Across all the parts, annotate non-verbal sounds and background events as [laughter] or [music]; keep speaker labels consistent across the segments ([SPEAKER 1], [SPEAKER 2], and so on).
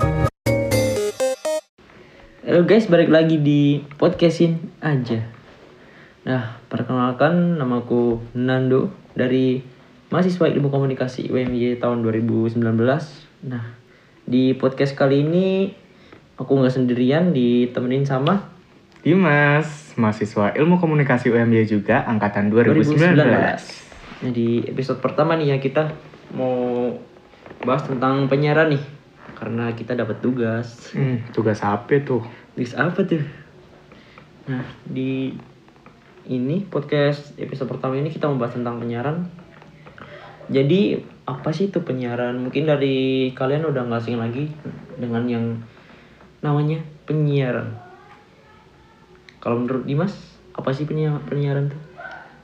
[SPEAKER 1] Halo Eh, guys, balik lagi di podcastin aja. Nah, perkenalkan namaku Nando dari mahasiswa Ilmu Komunikasi UMY tahun 2019. Nah, di podcast kali ini aku nggak sendirian ditemenin sama
[SPEAKER 2] Dimas, mahasiswa Ilmu Komunikasi UMY juga angkatan 2019.
[SPEAKER 1] Nah, di episode pertama nih ya kita mau bahas tentang penyiaran nih karena kita dapat tugas.
[SPEAKER 2] Hmm, tugas HP tuh.
[SPEAKER 1] List apa tuh? Nah, di ini podcast episode pertama ini kita membahas tentang penyiaran. Jadi, apa sih itu penyiaran? Mungkin dari kalian udah nggak asing lagi dengan yang namanya penyiaran. Kalau menurut Dimas, apa sih penyiar penyiaran tuh?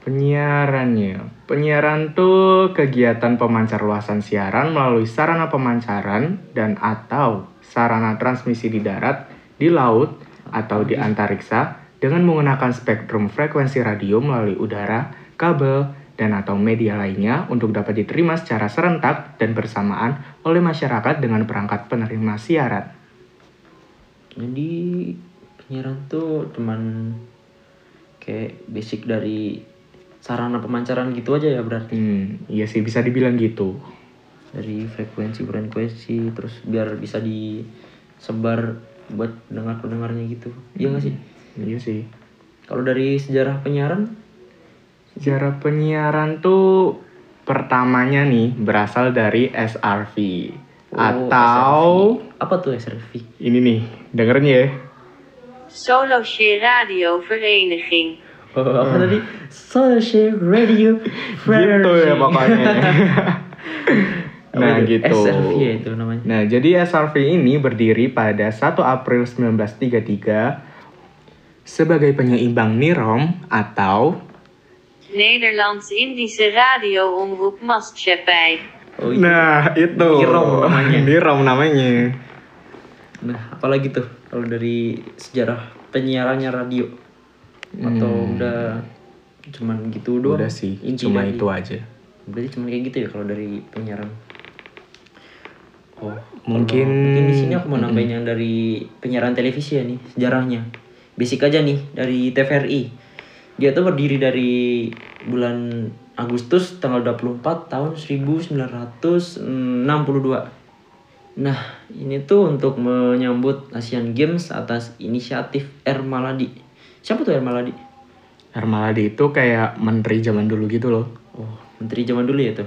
[SPEAKER 2] Penyiarannya. Penyiaran tuh kegiatan pemancar luasan siaran melalui sarana pemancaran dan atau sarana transmisi di darat, di laut, atau di antariksa dengan menggunakan spektrum frekuensi radio melalui udara, kabel, dan atau media lainnya untuk dapat diterima secara serentak dan bersamaan oleh masyarakat dengan perangkat penerima siaran.
[SPEAKER 1] Jadi, penyiaran tuh cuman kayak basic dari sarana pemancaran gitu aja ya berarti.
[SPEAKER 2] Hmm, iya sih bisa dibilang gitu.
[SPEAKER 1] dari frekuensi frekuensi terus biar bisa disebar buat dengar pendengarnya gitu iya nggak sih
[SPEAKER 2] Iya sih.
[SPEAKER 1] kalau dari sejarah penyiaran
[SPEAKER 2] Sejarah penyiaran tuh pertamanya nih berasal dari SRV
[SPEAKER 1] oh,
[SPEAKER 2] atau
[SPEAKER 1] SRV. apa tuh SRV
[SPEAKER 2] ini nih dengerin ya.
[SPEAKER 3] Solosje Radio Vereniging.
[SPEAKER 1] oh, apa tadi social radio
[SPEAKER 2] Gitu ya pokoknya.
[SPEAKER 1] Apa
[SPEAKER 2] nah
[SPEAKER 1] Oh, itu?
[SPEAKER 2] gitu.
[SPEAKER 1] SRV ya itu namanya
[SPEAKER 2] Nah, jadi SRV ini berdiri pada 1 April 1933 sebagai penyeimbang NIROM atau
[SPEAKER 3] Nederlands-Indische Radio Omroep Maatschappij.
[SPEAKER 1] oh, iya. nah.
[SPEAKER 2] Nah, itu.
[SPEAKER 1] NIROM namanya.
[SPEAKER 2] NIROM namanya.
[SPEAKER 1] apalagi Nah, tuh kalau dari sejarah penyiarannya radio atau
[SPEAKER 2] Hmm.
[SPEAKER 1] udah cuman gitu doang
[SPEAKER 2] Udah sih,
[SPEAKER 1] Inti
[SPEAKER 2] cuma
[SPEAKER 1] dari-
[SPEAKER 2] itu aja.
[SPEAKER 1] Berarti cuma kayak gitu ya kalau dari penyiaran. Oh,
[SPEAKER 2] Mungkin-
[SPEAKER 1] kalau- mungkin di sini aku mau nambahin yang dari penyiaran televisi ya nih sejarahnya. Basic aja nih dari TVRI. Dia tuh berdiri dari bulan Agustus tanggal 24 tahun 1962. Nah, ini tuh untuk menyambut Asian Games atas inisiatif R Maladi. Siapa tuh R Maladi?
[SPEAKER 2] Hermaladi Hmm, itu kayak menteri zaman dulu gitu loh.
[SPEAKER 1] Oh, menteri zaman dulu ya tuh.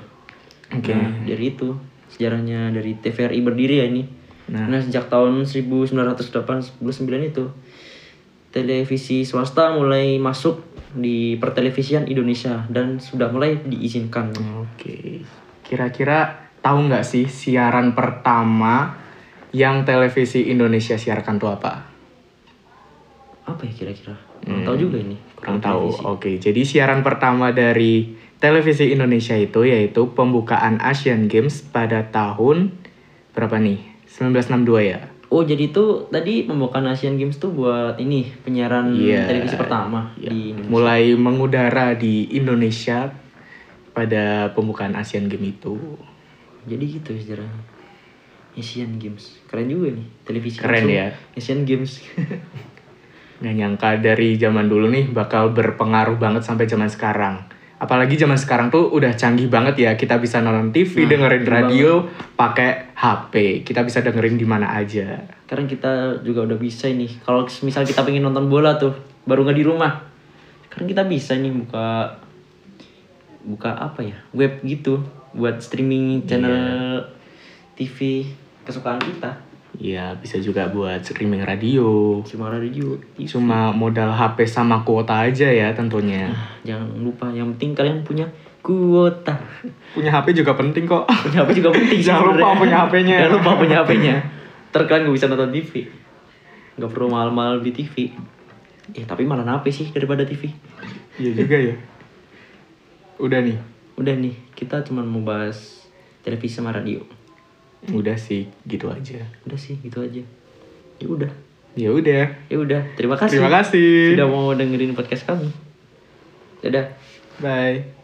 [SPEAKER 2] Oke.
[SPEAKER 1] Nah, dari itu sejarahnya dari TVRI berdiri ya ini. Nah,
[SPEAKER 2] Nah.
[SPEAKER 1] sejak tahun 1989 itu televisi swasta mulai masuk di pertelevisian Indonesia dan sudah mulai diizinkan.
[SPEAKER 2] Oke. Kira-kira tahu nggak sih siaran pertama yang televisi Indonesia siarkan tuh apa?
[SPEAKER 1] Apa ya kira-kira? Kurang Tahu juga ini.
[SPEAKER 2] Hmm, Kurang tahu.
[SPEAKER 1] Televisi.
[SPEAKER 2] Oke. Jadi siaran pertama dari televisi Indonesia itu yaitu pembukaan Asian Games pada tahun berapa nih? 1962 ya.
[SPEAKER 1] Oh, jadi itu tadi pembukaan Asian Games tuh buat ini penyiaran
[SPEAKER 2] Iya.
[SPEAKER 1] televisi pertama
[SPEAKER 2] Ya,
[SPEAKER 1] di Indonesia.
[SPEAKER 2] Mulai mengudara di Indonesia pada pembukaan Asian Games itu.
[SPEAKER 1] Jadi gitu ya sejarahnya. Asian Games. Keren juga nih televisi.
[SPEAKER 2] Keren
[SPEAKER 1] langsung.
[SPEAKER 2] ya.
[SPEAKER 1] Asian Games.
[SPEAKER 2] Nggak nyangka dari zaman dulu nih bakal berpengaruh banget sampai zaman sekarang. Apalagi zaman sekarang tuh udah canggih banget ya. Kita bisa nonton TV,
[SPEAKER 1] Nah,
[SPEAKER 2] dengerin
[SPEAKER 1] betul
[SPEAKER 2] radio, pakai HP. Kita bisa dengerin di mana aja.
[SPEAKER 1] sekarang kita juga udah bisa ini kalau misal kita pengen nonton bola tuh baru nggak di rumah sekarang kita bisa nih buka buka apa ya web gitu buat streaming channel
[SPEAKER 2] Iya.
[SPEAKER 1] TV kesukaan kita
[SPEAKER 2] Ya, bisa juga buat streaming radio.
[SPEAKER 1] cuma radio TV.
[SPEAKER 2] Cuma modal HP sama kuota aja ya tentunya.
[SPEAKER 1] jangan lupa yang penting kalian punya kuota
[SPEAKER 2] Punya HP juga penting kok.
[SPEAKER 1] punya HP juga penting sih
[SPEAKER 2] Jangan lupa
[SPEAKER 1] sebenarnya.
[SPEAKER 2] punya HP-nya.
[SPEAKER 1] jangan lupa punya HP-nya ntar kalian nggak bisa nonton TV nggak perlu mahal-mahal beli TV ya tapi malah HP sih daripada TV
[SPEAKER 2] [laughs] Iya juga ya. Udah nih.
[SPEAKER 1] Udah nih, kita cuma mau bahas televisi sama radio.
[SPEAKER 2] Udah sih, gitu aja.
[SPEAKER 1] Udah sih, gitu aja. Ya udah.
[SPEAKER 2] Ya udah.
[SPEAKER 1] Ya udah, terima kasih.
[SPEAKER 2] Terima kasih.
[SPEAKER 1] Sudah mau dengerin podcast kami. Dadah.
[SPEAKER 2] Bye.